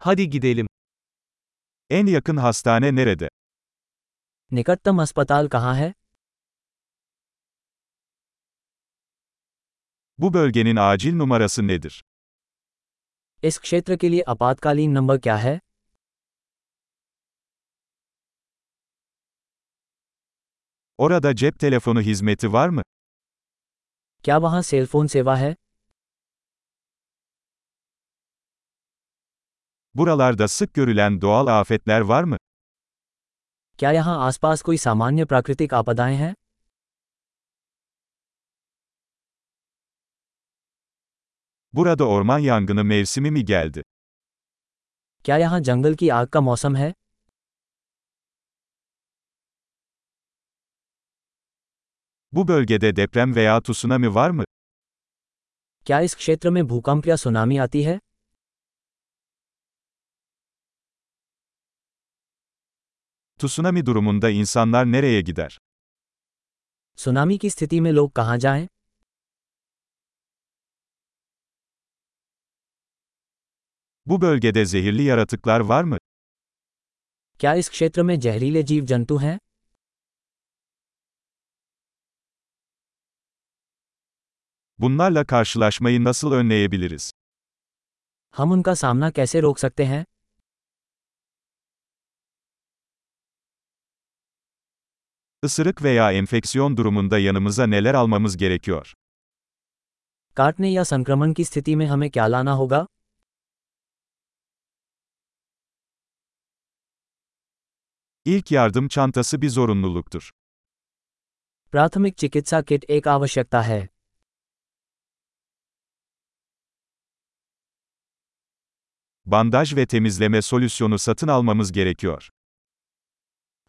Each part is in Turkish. Hadi gidelim. En yakın hastane nerede? निकटतम अस्पताल कहाँ है Bu bölgenin acil numarası nedir? इस क्षेत्र के लिए आपातकालीन नंबर क्या है Orada cep telefonu hizmeti var mı? क्या वहाँ सेलफोन सेवा है Buralarda sık görülen doğal afetler var mı? क्या यहाँ आसपास कोई सामान्य प्राकृतिक आपदाएं हैं Burada orman yangını mevsimi mi geldi? क्या यहाँ जंगल की आग का मौसम है Bu bölgede deprem veya tsunami var mı? क्या इस क्षेत्र में भूकंप या सुनामी आती है Tsunami durumunda insanlar nereye gider? Tsunami की स्थिति में लोग कहाँ जाएं Bu bölgede zehirli yaratıklar var mı? क्या इस क्षेत्र में जहरीले जीव जंतु हैं Bunlarla karşılaşmayı nasıl önleyebiliriz? हम उनका सामना कैसे रोक सकते हैं Isırık veya enfeksiyon durumunda yanımıza neler almamız gerekiyor? काटने या संक्रमण की स्थिति में हमें क्या लाना होगा İlk yardım çantası bir zorunluluktur. प्राथमिक चिकित्सा किट एक आवश्यकता है Bandaj ve temizleme solüsyonu satın almamız gerekiyor.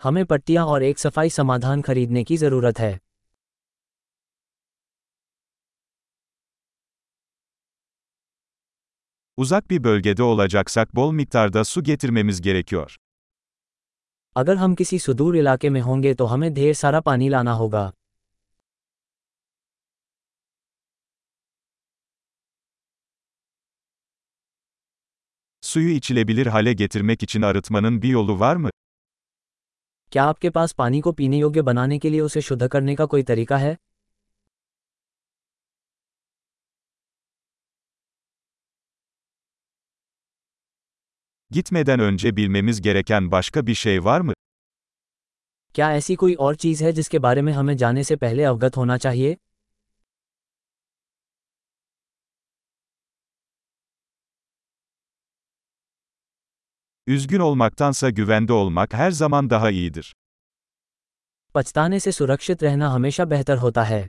हमें पट्टियाँ और एक सफाई समाधान खरीदने की ज़रूरत है Uzak bir bölgede olacaksak bol miktarda su getirmemiz gerekiyor. अगर हम किसी सुदूर इलाके में होंगे तो हमें ढेर सारा पानी लाना होगा Suyu içilebilir hale getirmek için arıtmanın bir yolu var mı? क्या आपके पास पानी को पीने योग्य बनाने के लिए उसे शुद्ध करने का कोई तरीका है Gitmeden önce bilmemiz gereken başka bir şey var mı? क्या ऐसी कोई और चीज़ है जिसके बारे में हमें जाने से पहले अवगत होना चाहिए Üzgün olmaktansa güvende olmak her zaman daha iyidir. पछताने से सुरक्षित रहना हमेशा बेहतर होता है